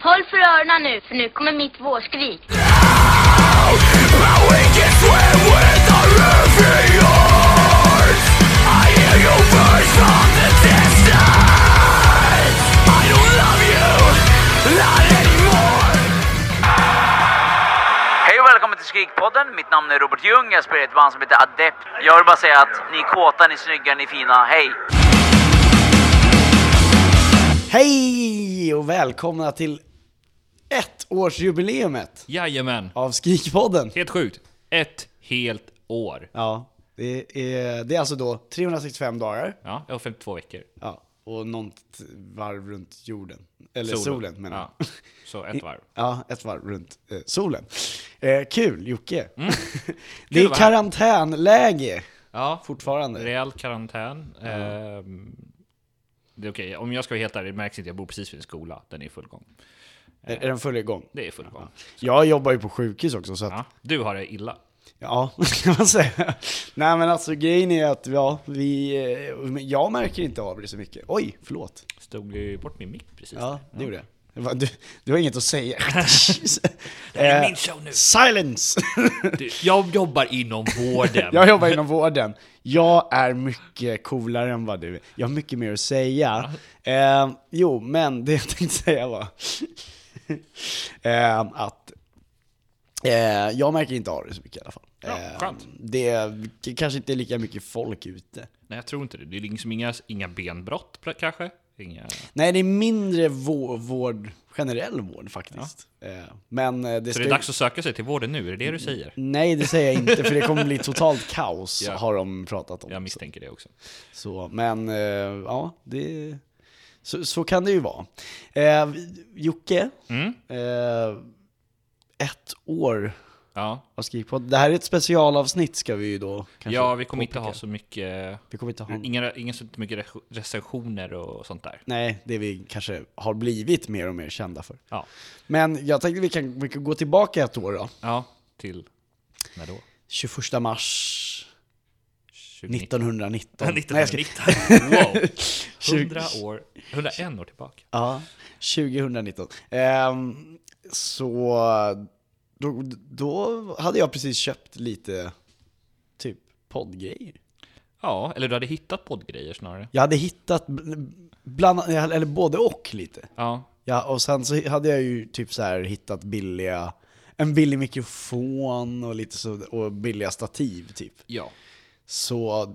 Håll för öronen nu, för nu kommer mitt vårskrik. Hej och välkommen till Skrikpodden. Mitt namn är Robert Ljung. Jag spelar i ett band som heter Adept. Jag vill bara säga att ni är kåta, ni är snygga, ni är fina. Hej! Hej och välkomna till ettårsjubileumet Jajamän. av Skrikpodden. Helt sjukt. Ett helt år. Ja, det är, det är alltså då 365 dagar Ja, jag har 52 veckor. ja, och något varv runt jorden. Eller solen, Solen. menar jag. Ja. Så ett varv. Ja, ett varv runt eh, solen. Eh, kul Jocke! det Mm. att är vara här. karantänläge Ja, fortfarande. rejäl karantän. Ehm, det är okej, om jag ska vara helt ärlig det märks inte. Jag bor precis vid en skola. Den är i full gång. Är, är den full igång? Det är i full gång. Jag jobbar ju på sjukhus också så att Ja. Du har det illa. Ja, kan man säga. Nej men alltså grejen är att, ja, vi, eh, men jag märker inte av det så mycket. Oj, förlåt. Stod ju bort min mick precis. Ja, Ja. det gjorde jag. Det var- Du, du har inget att säga. är Eh, min show nu. Silence! Du, jag jobbar inom vården. Jag jobbar inom vården. Jag är mycket coolare än vad du är. Jag har mycket mer att säga. Eh, jo, men det jag tänkte säga var eh, att eh, jag märker inte av det så mycket i alla fall. Ja, Eh, skönt. det är k- kanske inte är lika mycket folk ute. Nej, jag tror inte det. Det är liksom inga, inga benbrott pl- kanske. Inga... Nej, det är mindre vå- vård, generell vård faktiskt. Eh, men eh, det Så ska det är ju- dags att söka sig till vården nu, är det det Mm, du säger? Nej, det säger jag inte för det kommer bli totalt kaos, Ja. har de pratat om. Jag misstänker det också. Så, men eh, ja, det, så, så kan det ju vara. Eh, Jocke, Mm. eh, ett år Ja, av Skrikpodden. Det här är ett specialavsnitt ska vi ju då kanske ja vi Mm. kommer inte påpeka. ha så mycket Vi kommer inte ha... Inga, inga så mycket re- recensioner och sånt där. Nej, det vi kanske har blivit mer och mer kända för. Ja. Men jag tänkte vi kan, vi kan gå tillbaka ett år då. Ja, till när då? 21 mars 2019. 1919. Nej, jag ska- 1919. Wow! 100 år, 101 år tillbaka. Ja, 2019. Ehm, så då, då hade jag precis köpt lite typ poddgrejer. Ja, eller du hade hittat poddgrejer snarare. Jag hade hittat bl- bland eller både och lite. Ja, Ja, och sen så hade jag ju typ så här hittat billiga, en billig mikrofon och lite så, och billiga stativ typ. ja. Så,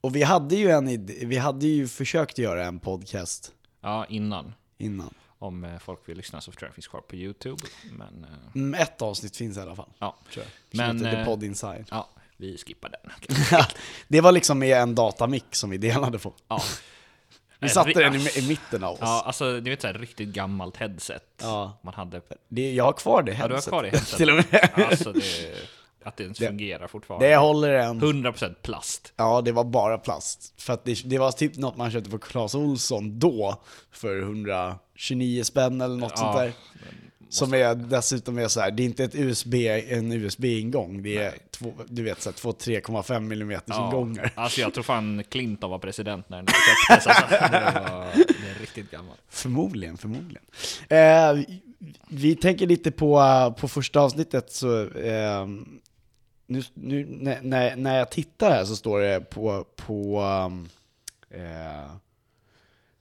och vi hade ju en id- vi hade ju försökt göra en podcast ja innan. innan. Om eh, folk vill lyssna så tror jag det finns kvar på YouTube. Men, eh, Mm, Ett avsnitt finns i alla fall. ja. Men, men som heter The eh, Pod Inside. ja, vi skippar den. det var liksom med en datamick som vi delade på. Ja. eh, Vi satte den i, i mitten av oss. Ja, alltså du vet såhär riktigt gammalt headset. Ja. Man hade... Det, jag har kvar det Ja, du har headsetet. kvar det headsetet. Till och med. Alltså det, att det ens fungerar fortfarande. Det håller än. 100% plast. Ja, det var bara plast. För att det, det var typ något man köpte på Clas Ohlson då, för 129 spänn eller något Ja, sånt där. Som är dessutom är så här, det är inte ett USB, en USB-ingång, det är två, du vet så här, två 3,5 mm ingångar. Alltså jag tror fan Clinton var president när den köptes. Alltså, det, var, det är riktigt gammal. Förmodligen, förmodligen. Eh, vi tänker lite på, eh, på första avsnittet så, eh, nu, nu när- när, när jag tittar här så står det på, på eh,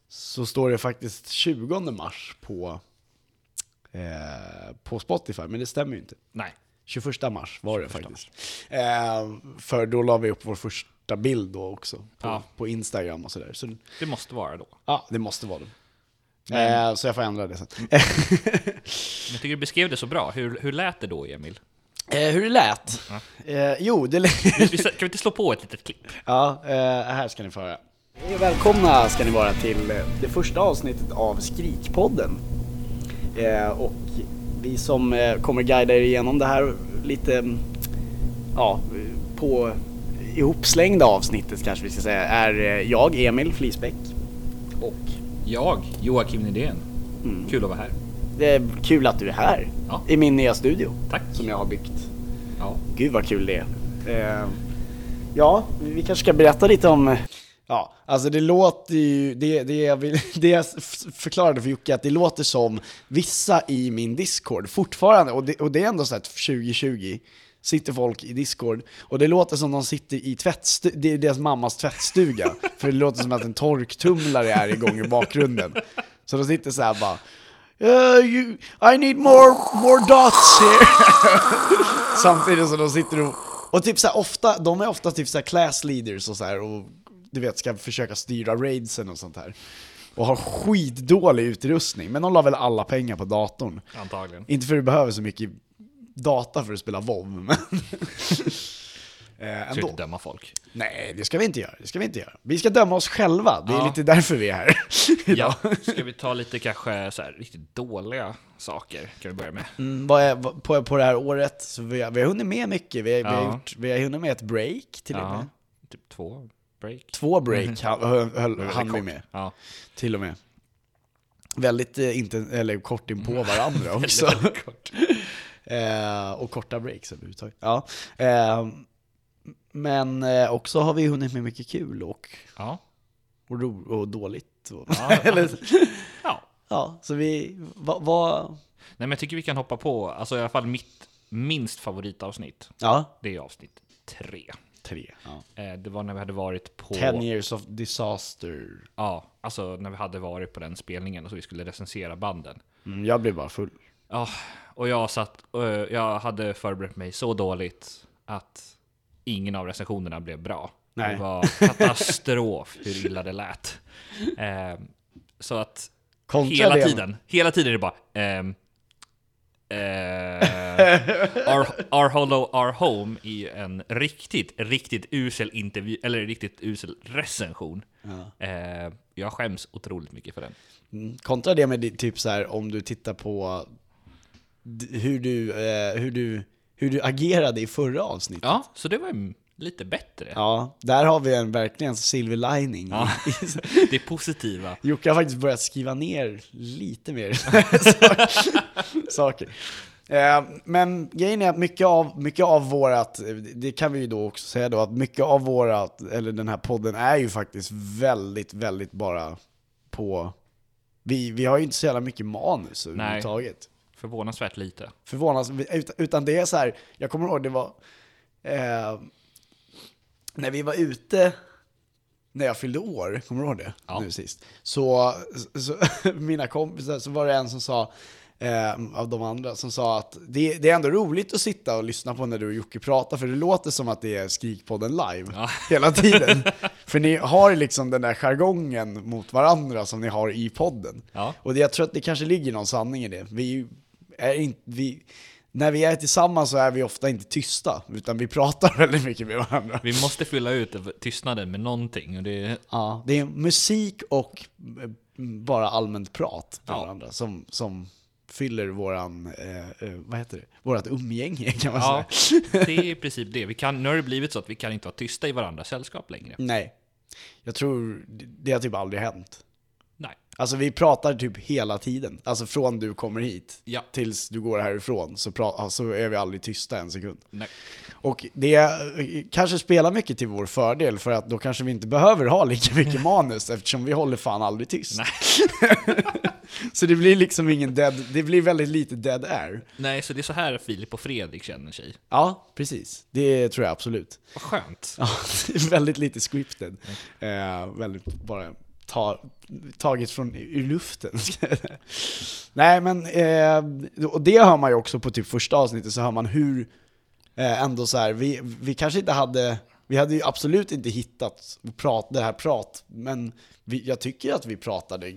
så står det faktiskt 20 mars på, eh, på Spotify, men det stämmer ju inte. Nej. 21 mars var det faktiskt. Eh, för då la vi upp vår första bild då också på, Ja. på Instagram och sådär. Så, Det måste vara då. Ja, det måste vara det. Eh, så jag får ändra det sen. Men Jag tycker du beskrev det så bra. Hur, hur lät det då, Emil? Eh, hur det lät? Eh, jo, det lät... Vi, kan vi inte slå på ett litet klipp? ja, eh, här ska ni få höra. Hej och välkomna ska ni vara till eh, det första avsnittet av Skrikpodden. Eh, och vi som eh, kommer guida er igenom det här lite, mm, ja, eh, på ihopslängda avsnittet kanske vi ska säga, är eh, jag, Emil Flisbäck. Och Jag, Joakim Nydén. Kul att vara här. det är kul att du är här, Ja. i min nya studio. Tack. Som jag har byggt. Ja. Eh, Gud vad kul det är. ja, vi kanske ska berätta lite om... eh, Ja, alltså det låter ju, det, det, jag vill, det jag f- förklarade för Jocke, att det låter som vissa i min Discord fortfarande, och det, och det är ändå så att 2020 sitter folk i Discord, och det låter som de sitter i tvättstu- det är deras mammas tvättstuga, för det låter som att en torktumlare är igång i bakgrunden. Så de sitter så här bara Uh, you, I need more, more dots here. Samtidigt som de sitter och... Och typ så här, ofta, de är ofta typ så här class leaders och så här och du vet ska försöka styra raidsen och sånt här. Och har skitdålig utrustning, men de la väl alla pengar på datorn. Antagligen. Inte för att du behöver så mycket data för att spela WoW, men... eh, Ska ändå. inte döma folk. Nej, det ska vi inte göra. Det ska vi inte göra. Vi ska döma oss själva, det är Ja. lite därför vi är här idag. Ja, ska vi ta lite kanske så här riktigt dåliga saker? Kan vi börja med? Mm, vad är, vad- på, på det här året, så vi, har, vi har hunnit med mycket. Vi har, vi, har Ja. gjort, vi har hunnit med ett break till och Ja, med. typ två break. Två break han, höll, höll, Väldigt hann vi kort. med, Ja. till och med. Väldigt eh, inte, eller kort in på varandra också. Mm. Väldigt kort. eh, och korta breaks överhuvudtaget. Ja. Eh, men eh, också har vi hunnit med mycket kul och, Ja. och, ro, och dåligt. Och, Ja. eller, ja. ja, så vi, vad, va, Nej, men jag tycker vi kan hoppa på, alltså i alla fall mitt minst favoritavsnitt. ja, Det är avsnitt tre. tre. Ja. Eh, Det var när vi hade varit på... Ten years of disaster. Ja, alltså när vi hade varit på den spelningen och så vi skulle recensera banden. Mm, jag blev bara full. Ja, och jag satt och eh, jag hade förberett mig så dåligt att ingen av recensionerna blev bra. Nej. Det var katastrof hur illa det lät. Ehm, så att Kontra hela det- tiden, hela tiden är det bara ehm, eh, our, our Hollow Our Home i en riktigt, riktigt usel intervju, eller riktigt usel recension. Eh, jag skäms otroligt mycket för den. Mm. Kontra det med di- typ så här om du tittar på d- hur du, eh, hur du, hur du agerade i förra avsnittet. Ja, så det var ju lite bättre. Ja, där har vi en verkligen silver lining. Ja. Det positiva. Jocke har faktiskt börjat skriva ner lite mer saker- saker. Eh, Men grejen är att mycket av, mycket av vårat, det kan vi ju då också säga då, att mycket av vårat, eller den här podden är ju faktiskt väldigt, väldigt bara på, vi, vi har ju inte så jävla mycket manus överhuvudtaget. Förvånansvärt lite. förvånansvärt, ut- utan det är så här, jag kommer ihåg det var, eh, när vi var ute, när jag fyllde år, kommer du ihåg det? Ja. Nu sist. Så, så mina kompisar, så var det en som sa, eh, av de andra, som sa att det, det är ändå roligt att sitta och lyssna på när du och Jocke pratar, för det låter som att det är Skrikpodden live hela tiden. för ni har liksom den där jargongen mot varandra som ni har i podden. Ja. Och det, jag tror att det kanske ligger någon sanning i det. Vi är inte, vi, när vi är tillsammans så är vi ofta inte tysta, utan vi pratar väldigt mycket med varandra. Vi måste fylla ut tystnaden med någonting. Och det, Ja, det är musik och eh, bara allmänt prat med Ja. varandra som, som fyller våran, eh, eh, vad heter det, vårat umgänge kan man ja, säga. det är i princip det. Vi kan, nu har det blivit så att vi kan inte vara tysta i varandras sällskap längre. Nej, jag tror det- det har typ aldrig hänt. Nej. Alltså vi pratar typ hela tiden, alltså från du kommer hit Ja. tills du går härifrån så, pra- så är vi aldrig tysta en sekund. Nej. Och det kanske spelar mycket till vår fördel för att då kanske vi inte behöver ha lika mycket manus eftersom vi håller fan aldrig tyst. så det blir liksom ingen dead, det blir väldigt lite dead air. Nej, så det är så här Filip och Fredrik känner sig. Ja, precis. Det tror jag absolut. Vad skönt. Mm. Ja, det är väldigt lite scripted. Eh, väldigt bara ta, taget från ur luften. ska jag säga. Nej men, eh, och det hör man ju också på typ första avsnittet, så hör man hur, eh, ändå så här, vi, vi kanske inte hade, vi hade ju absolut inte hittat prat, det här prat, men vi, jag tycker att vi pratade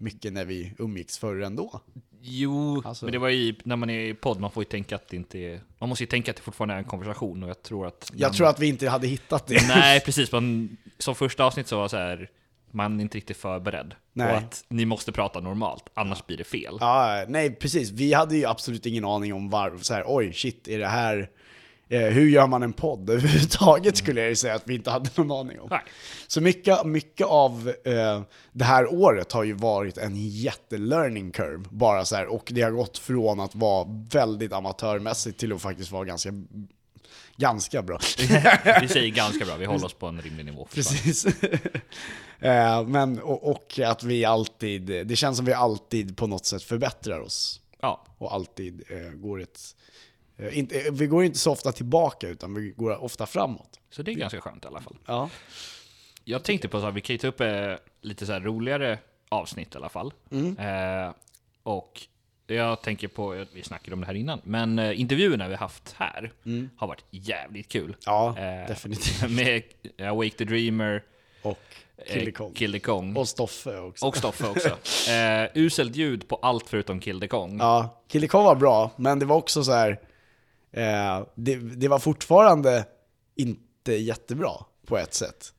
mycket när vi umgicks förr ändå. Jo, Alltså- men det var ju när man är i podd, man får ju tänka att det inte är... Man måste ju tänka att det fortfarande är en konversation och jag tror att... Jag tror att vi inte hade hittat det. Nej, precis. Man, som första avsnitt så var så här, man är inte riktigt förberedd Nej. på att ni måste prata normalt, annars blir det fel. Ja, nej precis. Vi hade ju absolut ingen aning om varv, så här, oj shit, är det här, eh, hur gör man en podd överhuvudtaget skulle jag ju säga att vi inte hade någon aning om. Nej. Så mycket, mycket av eh, det här året har ju varit en jättelearning curve, bara så här, och det har gått från att vara väldigt amatörmässigt till att faktiskt vara ganska Ganska bra. Vi säger ganska bra, vi håller oss på en rimlig nivå. för fan. Precis. Eh, Men, och, och att vi alltid, det känns som vi alltid på något sätt förbättrar oss. Ja, Och alltid eh, går ett... Eh, inte, eh, vi går inte så ofta tillbaka, utan vi går ofta framåt. så det är ganska skönt i alla fall. Ja. Jag tänkte på så här, vi kan ju ta upp eh, lite så här roligare avsnitt i alla fall. Mm. Eh, och jag tänker på, eh, vi snackade om det här innan, men eh, intervjuerna vi haft här har varit jävligt kul. Mm. Ja, Eh, definitivt. Med Awake the Dreamer, Och eh, Kille Kong. Kill the Kong Och Stoffe också. och Stoffe också. Eh, uselt ljud på allt förutom Kill the Kong. Ja, Kille Kong var bra, men det var också så här... Eh, det, det var fortfarande inte jättebra på ett sätt.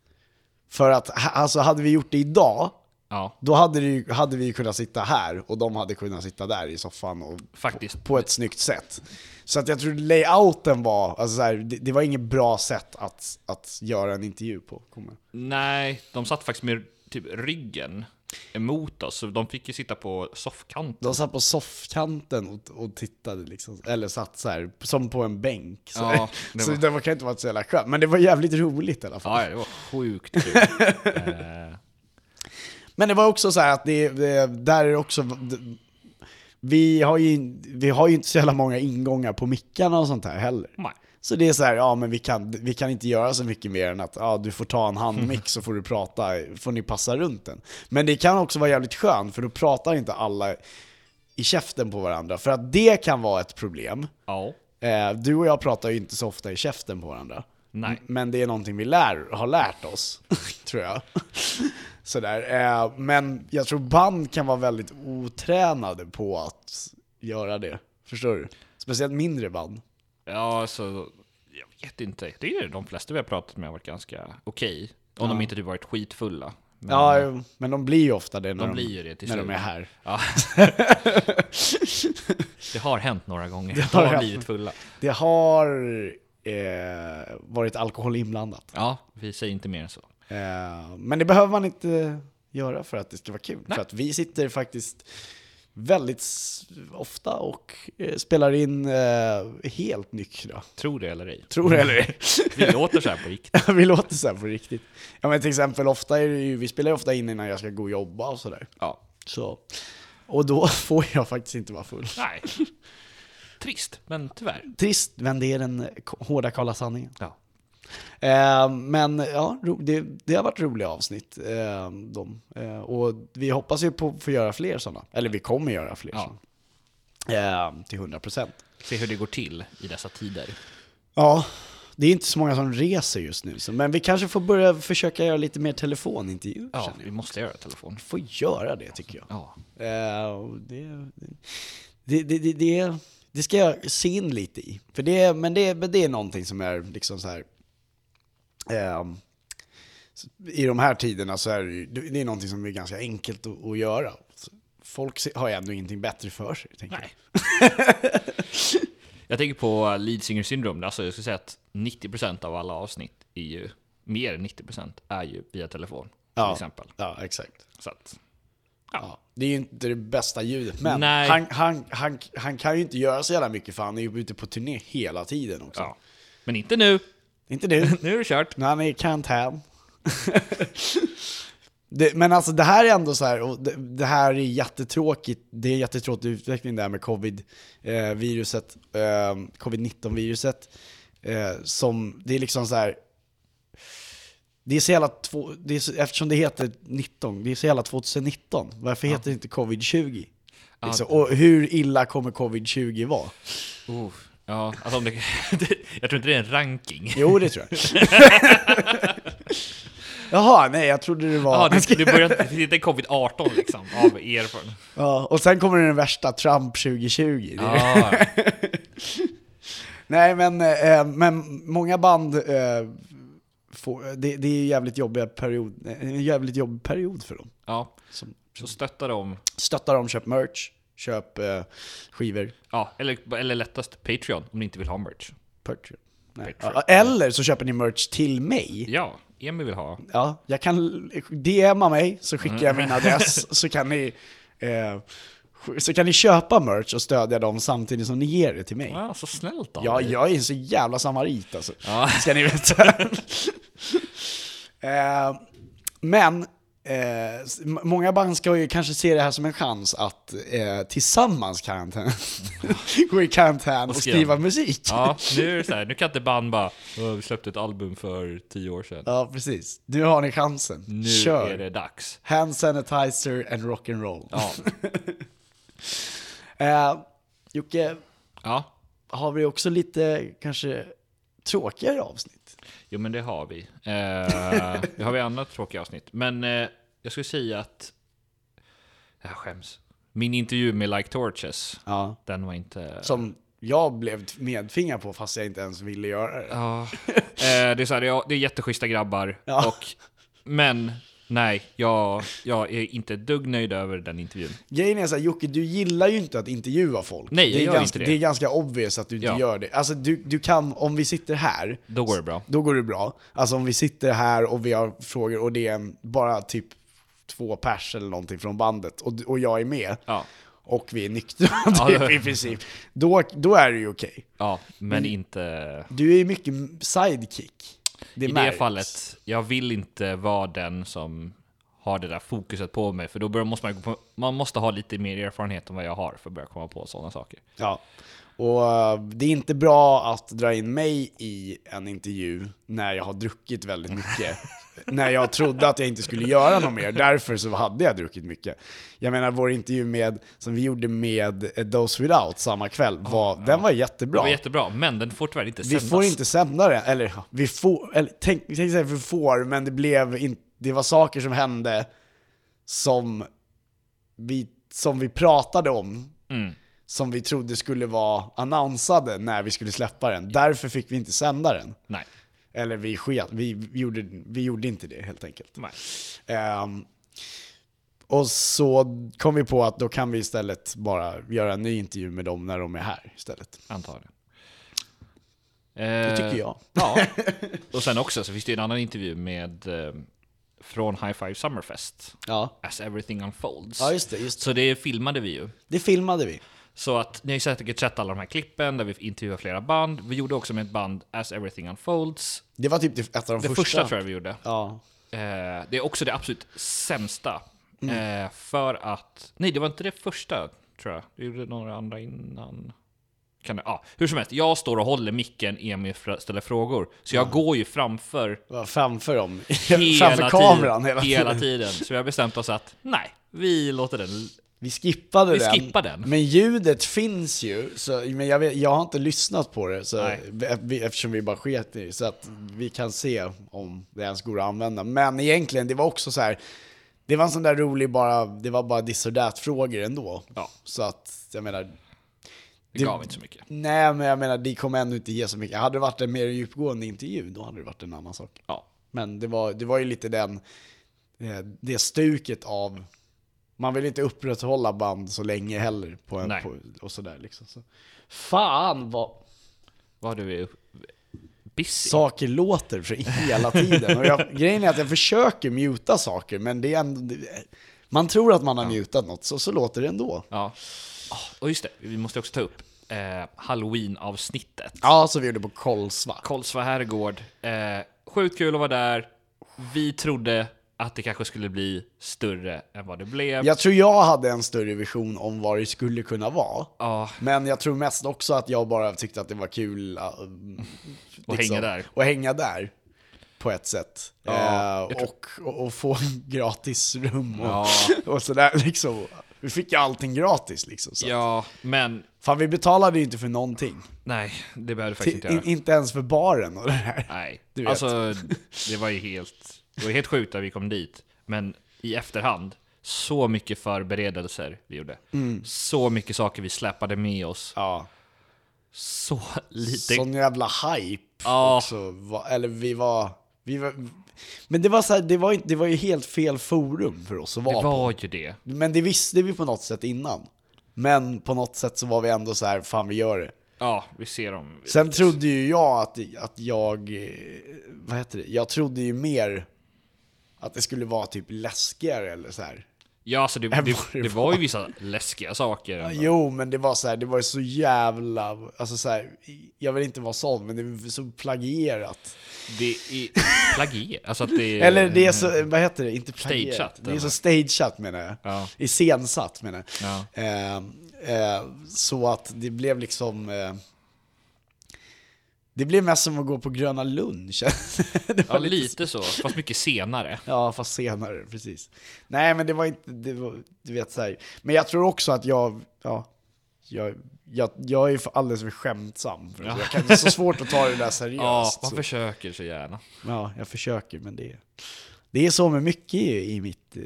För att, ha- alltså hade vi gjort det idag, Ja, då hade, det ju, hade vi ju kunnat sitta här och de hade kunnat sitta där i soffan och faktiskt. på ett snyggt sätt. Så att jag tror layouten var, alltså så här, det, det var inget bra sätt att, att göra en intervju på. Kommer. Nej, de satt faktiskt med typ ryggen emot oss, så de fick ju sitta på soffkanten. De satt på soffkanten och, och tittade liksom, eller satt så här, som på en bänk. Så, Ja, det, det var- så det var, kan inte vara så jävla skönt, men det var jävligt roligt i alla fall. Ja, ja, det var sjukt kul. eh, Men det var också så här att det, det där är det också, det- vi har, ju, vi har ju inte så jävla många ingångar på mickarna och sånt här heller. nej. Så det är så här, ja men vi kan, vi kan inte göra så mycket mer än att ja, du får ta en handmick så får du prata, får ni passa runt den. Men det kan också vara jävligt skönt för då pratar inte alla i käften på varandra. För att det kan vara ett problem. Ja. Eh, du och jag pratar ju inte så ofta i käften på varandra. Nej. M- Men det är någonting vi lär, har lärt oss, tror jag. Sådär. Eh, men jag tror band kan vara väldigt otränade på att göra det. Förstår du? Speciellt mindre band. Ja, alltså, jag vet inte. Det är de flesta vi har pratat med har varit ganska okej. Om de inte typ varit skitfulla. Men, Ja, jo, men de blir ju ofta det när, de, blir ju det till när de är slut. här. Ja. det har hänt några gånger. Det Det har har, hänt. blivit fulla. Det har eh, varit alkohol inblandat. Ja, vi säger inte mer än så. Eh, men det behöver man inte göra för att det ska vara kul. För att vi sitter faktiskt väldigt s- ofta och eh, spelar in eh, helt nyktra. Tror det eller ej. Tror du eller ej? Vi låter så här på riktigt. Vi låter så här på riktigt. Ja men till exempel, ofta är det ju, vi spelar ju ofta in innan jag ska gå och jobba och sådär. Ja. Så. Och då får jag faktiskt inte vara full. Nej. Trist, men tyvärr. Trist, men det är den eh, k- hårda kalla sanningen. Ja. Eh, men ja, ro- det, det har varit roliga avsnitt. Eh, de, eh, och vi hoppas ju på att få göra fler sådana. Eller vi kommer göra fler ja. sådana. Eh, till 100 procent. Se hur det går till i dessa tider. Ja, det är inte så många som reser just nu. Så, men vi kanske får börja försöka göra lite mer telefonintervjuer. Ja, känner jag. vi måste göra telefon. Vi får göra det tycker jag. Ja. Eh, och det, det, det, det, det, det ska jag se in lite i. För det, men, det, men det är någonting som är liksom så här... ehm, I de här tiderna så är det, ju- det är någonting som är ganska enkelt att, att göra. Så Folk se- har ju ändå ingenting bättre för sig. Tänker Nej. jag tänker på lead singer syndrome. Alltså jag skulle säga att 90% av alla avsnitt är ju, mer än 90% är ju via jag. telefon. Till Ja, exempel. Ja, exakt. Så att, Ja. Det är ju inte det bästa ljudet, men Nej. han, han, han, han kan ju inte göra så jävla mycket för han är ju ute på turné hela tiden också. ja. Men inte nu. Inte nu. Nu är det kört. när han är i karantän. det, men alltså det här är ändå så här, och det, det här är jättetråkigt, det är jättetråkig utveckling där med covid-viruset, eh, covid-19-viruset. Eh, som, det är liksom så här, det är så jävla, två, det är så, eftersom det heter 19, det är så jävla 2019, varför heter det inte covid-20? Liksom, och hur illa kommer covid-20 vara? Oh. Ja, alltså om det, jag tror inte det är en ranking. Jo, det tror jag. Jaha, nej jag trodde det var... Ja, det, det, börjar, det är inte covid-18 liksom, av erfarenhet. Ja, och sen kommer den värsta, Trump 2020. Det är- Ja, Nej, men, eh, men många band, eh, får, det, det är ju jävligt jobbiga period, eh, en jävligt jobbig period för dem. ja. Som, Så stötta dem. stötta dem, köp merch, köp eh, skivor, Ja, eller, eller lättast Patreon om ni inte vill ha merch. Patreon. Nej. Patreon. Ja, Eller så köper ni merch till mig. Ja, Emil vill ha. Ja, jag kan DMa mig så skickar jag min adress så kan ni eh, Så kan ni köpa merch och stödja dem samtidigt som ni ger det till mig. Ja, så snällt av Ja, dig. jag är en så jävla samarit alltså. Ja. Ska ni veta. eh, men eh, s- m- många band ska ju kanske se det här som en chans att eh, tillsammans karantän. gå i karantän och skriva. skriva musik. Ja, nu är det så här, nu kan inte band bara "Åh, Vi släppte ett album för tio år sedan Ja, precis. Nu har ni chansen. Nu Kör. är det dags Hand sanitizer and rock'n'roll. Ja, Eh, Jocke, ja. har vi också lite kanske tråkigare avsnitt? Jo men det har vi eh, Det har vi andra tråkiga avsnitt Men eh, jag skulle säga att Jag skäms Min intervju med Like Torches Ja. Den var inte Som jag blev medtvingad på fast jag inte ens ville göra det. Ja. Eh, det är så här, det är, det är jätteschyssta grabbar. Ja. Och, men nej, jag, jag är inte ett dugg nöjd över den intervjun. Grejen är såhär, Jocke, du gillar ju inte att intervjua folk. Nej, jag det är gör ganska, inte det. Det är ganska obvious att du inte Ja. gör det. Alltså du, du kan, om vi sitter här, Då går det bra. då går det bra. Alltså om vi sitter här och vi har frågor och det är en- bara typ två pers eller någonting från bandet och, och jag är med Ja, och vi är nyktra Ja, typ, det- i princip, då, då är det ju okej. ja men Mm. inte... Du är ju mycket sidekick. Det I märks. det fallet, jag vill inte vara den som har det där fokuset på mig. För då börjar, måste man, gå på, man måste ha lite mer erfarenhet än vad jag har för att börja komma på sådana saker. Ja. Och eh, det är inte bra att dra in mig i en intervju när jag har druckit väldigt mycket. när jag trodde att jag inte skulle göra något mer, därför så hade jag druckit mycket. Jag menar vår intervju med, som vi gjorde med eh, Those Without samma kväll, var, den var jättebra. Det var jättebra, men den får tyvärr inte vi sändas. får inte sända den, eller ja, vi får, eller tänk, tänk säga vi får, men det blev inte, det var saker som hände som vi, som vi pratade om Mm. som vi trodde skulle vara annonsade när vi skulle släppa den. Därför fick vi inte sända den. Nej. Eller vi sket, vi gjorde, vi gjorde inte det helt enkelt. Nej. Ehm, och så kom vi på att då kan vi istället bara göra en ny intervju med dem när de är här istället. Antagligen. Det Det tycker jag. Ja. Eh, Och sen också så finns det ju en annan intervju med eh, från High Five Summerfest. Ja, As everything unfolds. ja just, det, just det. Så det filmade vi ju. Det filmade vi. Så att ni har ju säkert sett alla de här klippen där vi intervjuar flera band. Vi gjorde också med ett band As everything unfolds. Det var typ det- ett av de Det första. första, tror jag vi gjorde. Ja. Eh, det är också det absolut sämsta. Mm. Eh, för att... Nej, det var inte det första tror jag. Vi gjorde några andra innan. Kan det, ja, hur som helst, jag står och håller micken, Emil fra- ställer frågor. Så jag går ju framför Var framför dem. hela Mm. framför kameran tiden, hela tiden. hela tiden. Så vi har bestämt oss att nej, vi låter den... Vi skippade Vi den. skippar den. Men ljudet finns ju, så, men jag, vet, jag har inte lyssnat på det så, Nej. vi, eftersom vi bara sket i det. Så att vi kan se om det ens går att använda. Men egentligen, det var också så här, det var en sån där rolig bara, det var bara this or that frågor ändå. Ja. Så att, jag menar, Det Det- gav inte så mycket. nej men jag menar, det kommer ändå inte ge så mycket. Hade det varit en mer djupgående intervju, då hade det varit en annan sak. Ja. Men det var, det var ju lite den, eh, det stuket av, man vill inte upprätthålla band så länge heller. På en, Nej. på, och sådär liksom. Så. Fan vad Vad du är upp- busy. saker låter för hela tiden. Och jag, grejen är att jag försöker muta saker, men det är ändå, det- man tror att man har mutat något, så, så låter det ändå. Ja. Ah, och just det, vi måste också ta upp eh, Halloween-avsnittet. Ja, så vi gjorde på Kolsva. Kolsva herrgård. Eh, sjukt kul att vara där. Vi trodde att det kanske skulle bli större än vad det blev. Jag tror jag hade en större vision om vad det skulle kunna vara. Ja. Men jag tror mest också att jag bara tyckte att det var kul äh, Och hänga där. Och hänga där. På ett sätt. Ja, eh, jag tror- och, och, och få gratis rum och, Ja. och sådär liksom. Vi fick ju allting gratis liksom. Så. ja, men Fan vi betalade ju inte för någonting. nej, det behövde Ti- faktiskt inte göra. in, inte ens för baren och det här. Nej, Du vet. alltså det var ju helt, det var helt sjukt att vi kom dit. Men i efterhand, så mycket förberedelser vi gjorde. Mm. Så mycket saker vi släpade med oss. Ja. Så lite... Sån jävla hype Ja. också. Va- Eller vi var... Vi var men det var, så här, det, var, inte- det var ju helt fel forum för oss att vara det på. var ju det. Men det visste vi på något sätt innan. Men på något sätt så var vi ändå så här, fan vi gör det. Ja, vi ser dem. Sen trodde ju jag att, att jag, eh, vad heter det, jag trodde ju mer att det skulle vara typ läskigare eller så här. Ja, alltså det, Än det, vad det det var ju vissa läskiga saker. Jo, men det var så här, det var ju så jävla, alltså så här, jag vill inte vara sån, men det är så plagierat. Det är plagier. Alltså att det är... Eller det är så, vad heter det, inte plagierat. Stageat, Det är så eller? stageat menar jag. Ja. Iscensatt menar jag. Ja. Eh, eh, så att det blev liksom, eh, det blev mest som att gå på Gröna Lund känns det. det. Ja, var lite så. Fast mycket senare. Ja, fast senare, precis. Nej, men det var inte, det var, du vet så här. Men jag tror också att jag, ja, jag, jag, jag är ju för alldeles för skämtsam. För att jag kan, det är så svårt att ta det där seriöst. Ja, man så, försöker så gärna. ja, jag försöker, men det, det är så med mycket i, i, mitt, eh,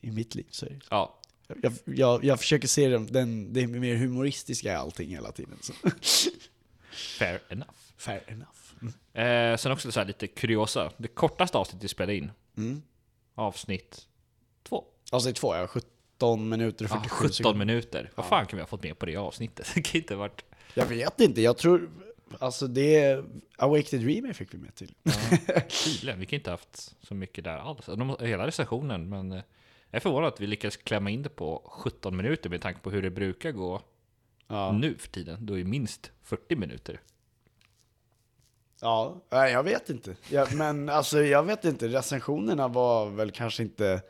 i mitt liv. Så är det. Ja. jag, jag, jag försöker se den, den, det mer humoristiska i allting hela tiden. Så. Fair enough. Fair enough. Mm. Eh, sen också så här lite kuriosa. Det kortaste avsnittet vi spelade in. Mm. Avsnitt två. Avsnitt två, jag har 17 minuter och Ja, 47 Ah, sekunder. Ah. 17 minuter. Vad fan kan vi ha fått med på det avsnittet? Det kan inte ha varit... Jag vet inte, jag tror... Alltså det... Awake the Dreamer fick vi med till. Tydligen, vi kan inte ha haft så mycket där alls. De, hela recensionen, men eh, jag är förvånad att vi lyckades klämma in det på 17 minuter med tanke på hur det brukar gå Ja. nu för tiden. Då är det minst 40 minuter. Ja, nej, jag vet inte. Ja, men alltså jag vet inte, recensionerna var väl kanske inte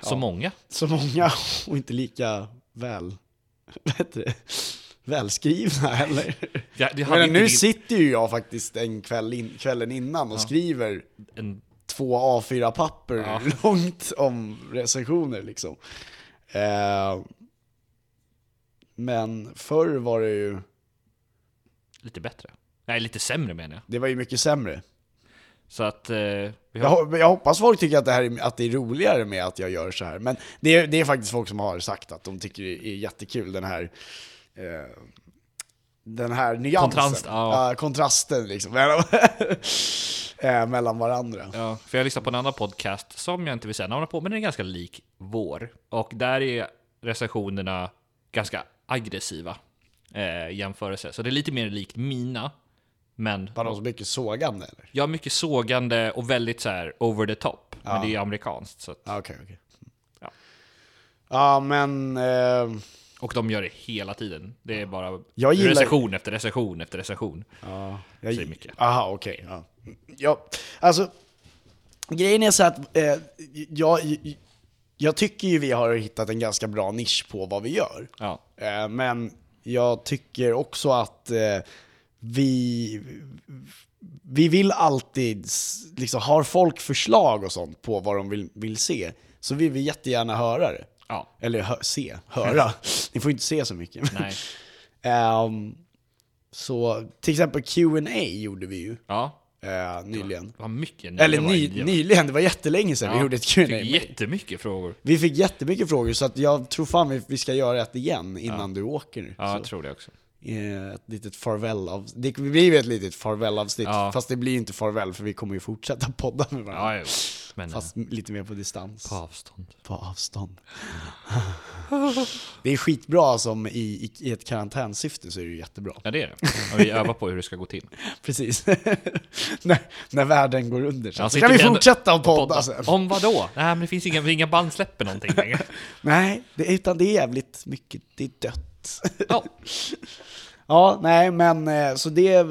Så många. så många och inte lika väl... Vad heter det? Välskrivna heller. Ja, det hade Men inte nu din- sitter ju jag faktiskt en kväll in, kvällen innan och skriver en, två A4-papper långt om recensioner liksom. Eh, men förr var det ju... lite bättre. Nej, lite sämre menar jag. Det var ju mycket sämre. Så att... Eh, vi Jag, har, ho- jag hoppas folk tycker att det, här är, att det är roligare med att jag gör så här. Men det är, det är faktiskt folk som har sagt att de tycker det är jättekul, den här... Eh, den här nyansen. Kontrast, ja. Ja, kontrasten liksom. Mellan, eh, mellan varandra. ja, för jag lyssnar på en annan podcast som jag inte vill säga namnet på, men den är ganska lik vår. Och där är recensionerna ganska aggressiva eh, i jämförelse. Så det är lite mer likt mina, men Var de så mycket sågande eller? Ja, mycket sågande och väldigt så här over the top. Men det är amerikanskt. Så att, Ja, Okej, okej. Ja. Ja, men... Eh, och de gör det hela tiden. Det är bara Jag gillar- recension efter recension efter recension. Jag Säger Micke. Aha, okej. Ja. ja, alltså grejen är så att eh, jag, jag tycker ju vi har hittat en ganska bra nisch på vad vi gör. Ja. Eh, men jag tycker också att eh, vi, vi vill alltid, s- liksom, har folk förslag och sånt på vad de vill, vill se, så vill vi jättegärna höra det. Ja. Eller hö, se, höra. Ni får inte se så mycket. Nej. Ehm, så till exempel Q&A gjorde vi ju Ja. eh, nyligen. Det var mycket. Eller det var- ny, det var- nyligen, det var jättelänge sedan ja. vi gjorde ett Fick Q&A Jättemycket frågor. Vi fick jättemycket frågor, så att jag tror fan vi, vi ska göra ett igen innan du åker nu. Ja, jag så, tror det också. eh, ett litet farväl av, Det blir ju ett litet farväl-avsnitt, Ja. fast det blir ju inte farväl för vi kommer ju fortsätta podda med varandra. Ja, jo. Men eh, Fast lite mer på distans. på avstånd. På avstånd. det är skitbra som i, i, i ett karantänsyfte så är det ju jättebra. Ja, det är det. Och vi övar på hur det ska gå till. Precis. när, när världen går under. Så, Ja, så sitter kan vi vi ändå- fortsätta att podda, sen. Om vad då? Nej, men det finns inga, inga band släpper någonting längre. Nej, det, utan det är jävligt mycket, det är dött. Ja. ja, nej men eh, så det,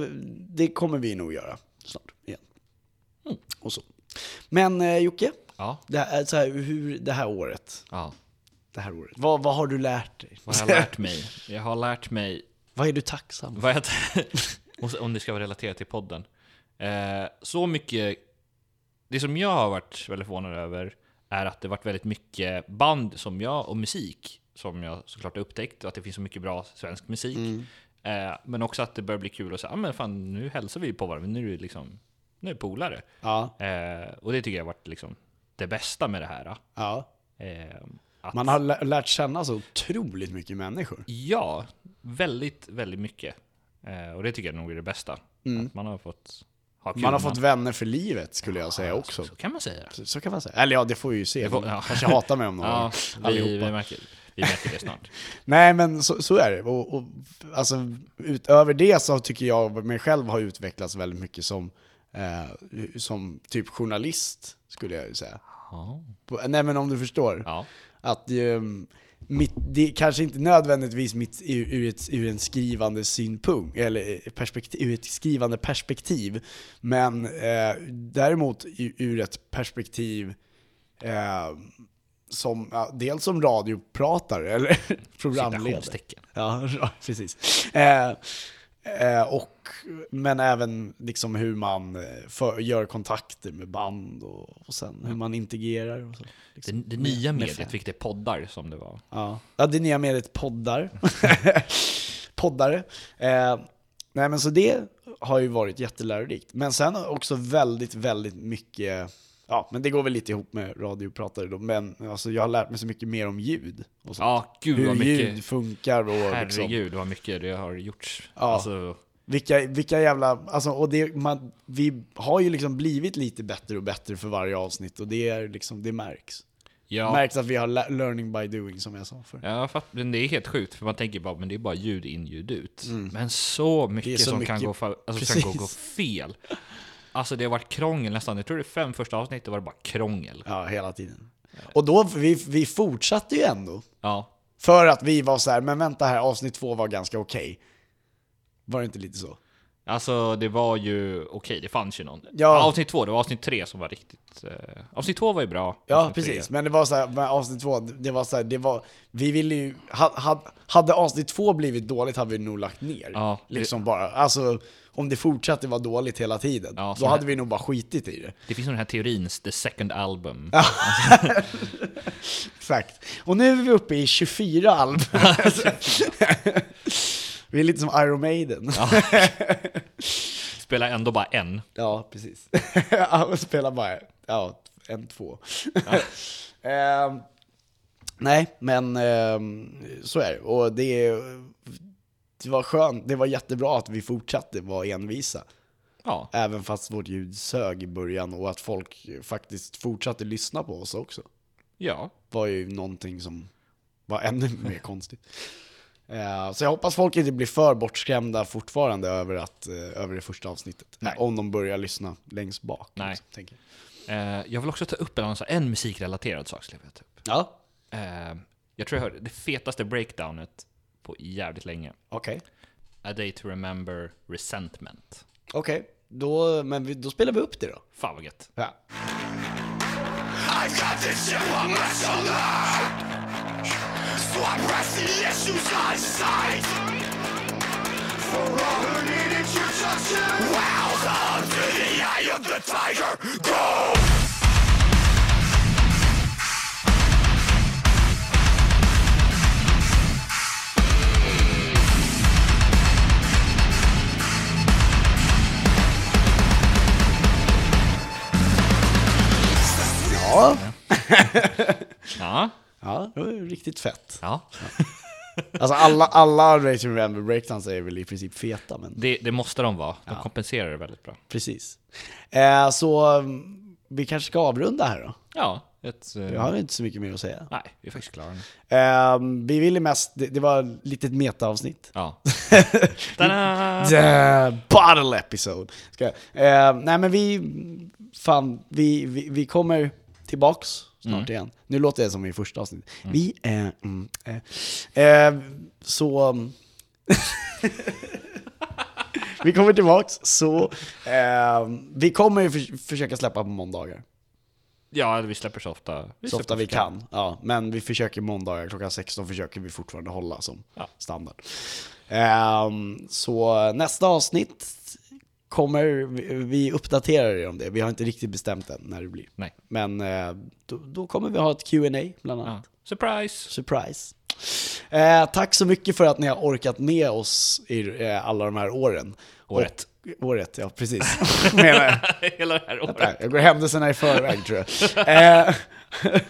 det kommer vi nog göra snart igen. Och så. Men eh, Jocke, Ja. det här, så här, hur, det här året, ja. det här året vad, vad har du lärt dig? Vad har jag lärt mig? Jag har lärt mig vad är du tacksam för? Vad jag och så- om det ska vara relaterat till podden. Eh, så mycket... Det som jag har varit väldigt förvånad över är att det varit väldigt mycket band som jag, och musik som jag såklart har upptäckt. Och att det finns så mycket bra svensk musik. Eh, men också att det börjar bli kul att säga, ah, men fan nu hälsar vi på varandra. Nu är det liksom, nu är det polare. Ja, Eh, och det tycker jag har varit liksom det bästa med det här. ja. Eh, att, Man har lä- lärt känna så otroligt mycket människor. Ja, väldigt, väldigt mycket. Eh, och det tycker jag nog är det bästa. Att man har fått ha kul. Mm. Man har med fått vänner för livet skulle jag säga också. Så kan man säga. Så, så kan man säga. Eller ja, det får vi ju se. får- De ja. kanske hatar mig om några Ja, år. vi, Allihopa. vi, märker, vi märker det snart. Nej, men så, så är det. Och, och, alltså, utöver det så tycker jag mig själv har utvecklats väldigt mycket som, eh, som typ journalist, skulle jag ju säga. Jaha. På, nej men om du förstår. Ja. Att ehm, mitt, det är kanske inte nödvändigtvis mitt, ur, ur, ett, ur en skrivande synpunkt, eller perspektiv, ur ett skrivande perspektiv, men eh, däremot ur, ur ett perspektiv eh, som, ja, dels som radiopratare eller programledare. Citationstecken. Ja, ja, precis. Eh, eh, och, men även liksom hur man eh, för, gör kontakter med band och, och sen hur man integrerar. Och så, Det, liksom. det nya med mediet, fan. vilket är poddar som det var. Ja. ja, det nya mediet poddar. Poddare. Eh, nej men så det har ju varit jättelärorikt. Men sen också väldigt, väldigt mycket, ja men det går väl lite ihop med radiopratare då, men alltså, jag har lärt mig så mycket mer om ljud. Och så. Ja, gud Hur vad mycket. ljud funkar och liksom, Herregud vad mycket det har gjorts. Ja. Alltså, vilka, vilka jävla, alltså, och det, man, vi har ju liksom blivit lite bättre och bättre för varje avsnitt och det, är liksom, det märks. ja, Märks att vi har la- learning by doing som jag sa förut. Ja, fatt, men det är helt sjukt, för man tänker bara men det är bara ljud in, ljud ut. Men så Mm. Det är mycket så som kan, mycket. gå fa- alltså, som kan gå, gå Precis. fel. Alltså det har varit krångel nästan, jag tror det är fem första avsnitt, det var det bara krångel. Ja, hela tiden. Och då, vi, vi fortsatte ju ändå. Ja, För att vi var så här, men vänta här, avsnitt två var ganska okej. Var det inte lite så? alltså det var ju, okej det fanns ju någon. Ja. Avsnitt två, det var avsnitt tre som var riktigt... Eh, avsnitt två var ju bra. Ja, avsnitt Alltså, tre- precis. Men det var så här, med avsnitt två, det var så här, det var, vi ville ju, ha, ha, hade avsnitt två blivit dåligt hade vi nog lagt ner. Ja, det- liksom bara, alltså om det fortsatte vara dåligt hela tiden, Ja, så då här- hade vi nog bara skitit i det. Det finns ju den här teorin, the second album. Exakt. Och nu är vi uppe i 24 album. vi är lite som Iron Maiden. Spelar ändå bara en. Ja, precis. Han spelar bara ja, en, två. Ehm, nej, men ehm, så är det. Och det, det var skönt, det var jättebra att vi fortsatte vara envisa. Ja, Även fast vårt ljud sög i början och att folk faktiskt fortsatte lyssna på oss också. ja. Var ju någonting som var ännu mer konstigt. Eh, Så jag hoppas folk inte blir för bortskrämda fortfarande över, att, eh, över det första avsnittet. Nej. Om de börjar lyssna längst bak. Nej. liksom, tänker jag. Eh, jag vill också ta upp en, annan- en musikrelaterad sak skulle jag vilja ta upp. Ja, Eh, jag tror jag hörde det fetaste breakdownet på jävligt länge. okej. A Day To Remember Resentment. Okej, då, men vi, då spelar vi upp det då. Fan vad gött. Ja. I've got this shit on my shoulder So I press the issues on sight For all who need introduction Wows up to the eye of the tiger Go! Ja. Ja. ja, det var ju riktigt fett. ja. Alltså alla, alla Race and Remember Breakdowns är väl i princip feta, men Det, det måste de vara. De kompenserar det väldigt bra. precis. Eh, så mm, vi kanske ska avrunda här då. Ja, ett... eh, Jag har inte så mycket mer att säga. Nej, vi är faktiskt klara nu. Eh, vi ville mest, det, det var ett litet metaavsnitt. Ja. Tada! The bottle episode. Ska, jag- eh, nej men vi, fan, vi, vi, vi kommer tillbaks snart igen. Nu låter det som i första avsnittet. Vi, eh, mm, eh, eh, så... mm. vi kommer tillbaks, så... Eh, vi kommer ju för, försöka släppa på måndagar. Ja, vi släpper så ofta vi Så släpper ofta vi kan. Ja, men vi försöker måndagar klockan 16 försöker vi fortfarande hålla som Ja. standard. Ehm, så nästa avsnitt kommer, vi- vi uppdaterar er om det. Vi har inte riktigt bestämt än när det blir. Nej. Men eh, då, då kommer vi ha ett Q&A bland annat. Ja. Surprise! Surprise. Eh, tack så mycket för att ni har orkat med oss i eh, alla de här åren. Året. Och, året, ja precis. Menar jag. Hela det här året. Nej, jag går händelserna i förväg tror jag. Eh,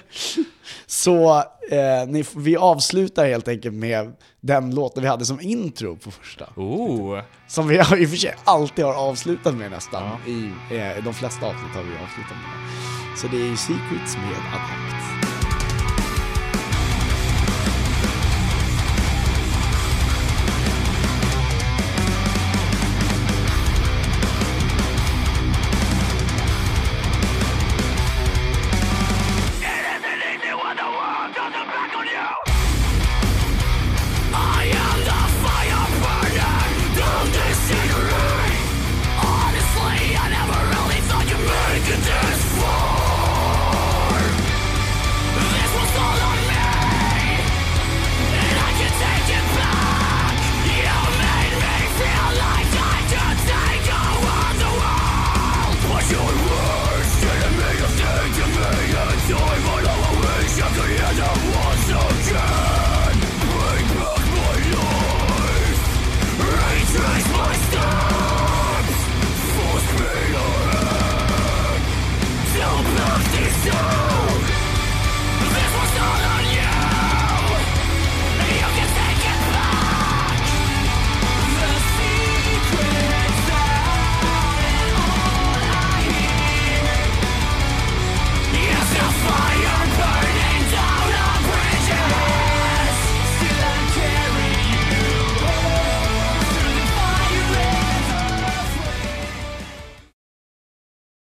så eh, ni, f- vi avslutar helt enkelt med den låten vi hade som intro på första. Oh! Som vi har, i och för sig alltid har avslutat med nästan. I eh, de flesta avsnitt har vi avslutat med. Så det är ju Secrets med Adapt.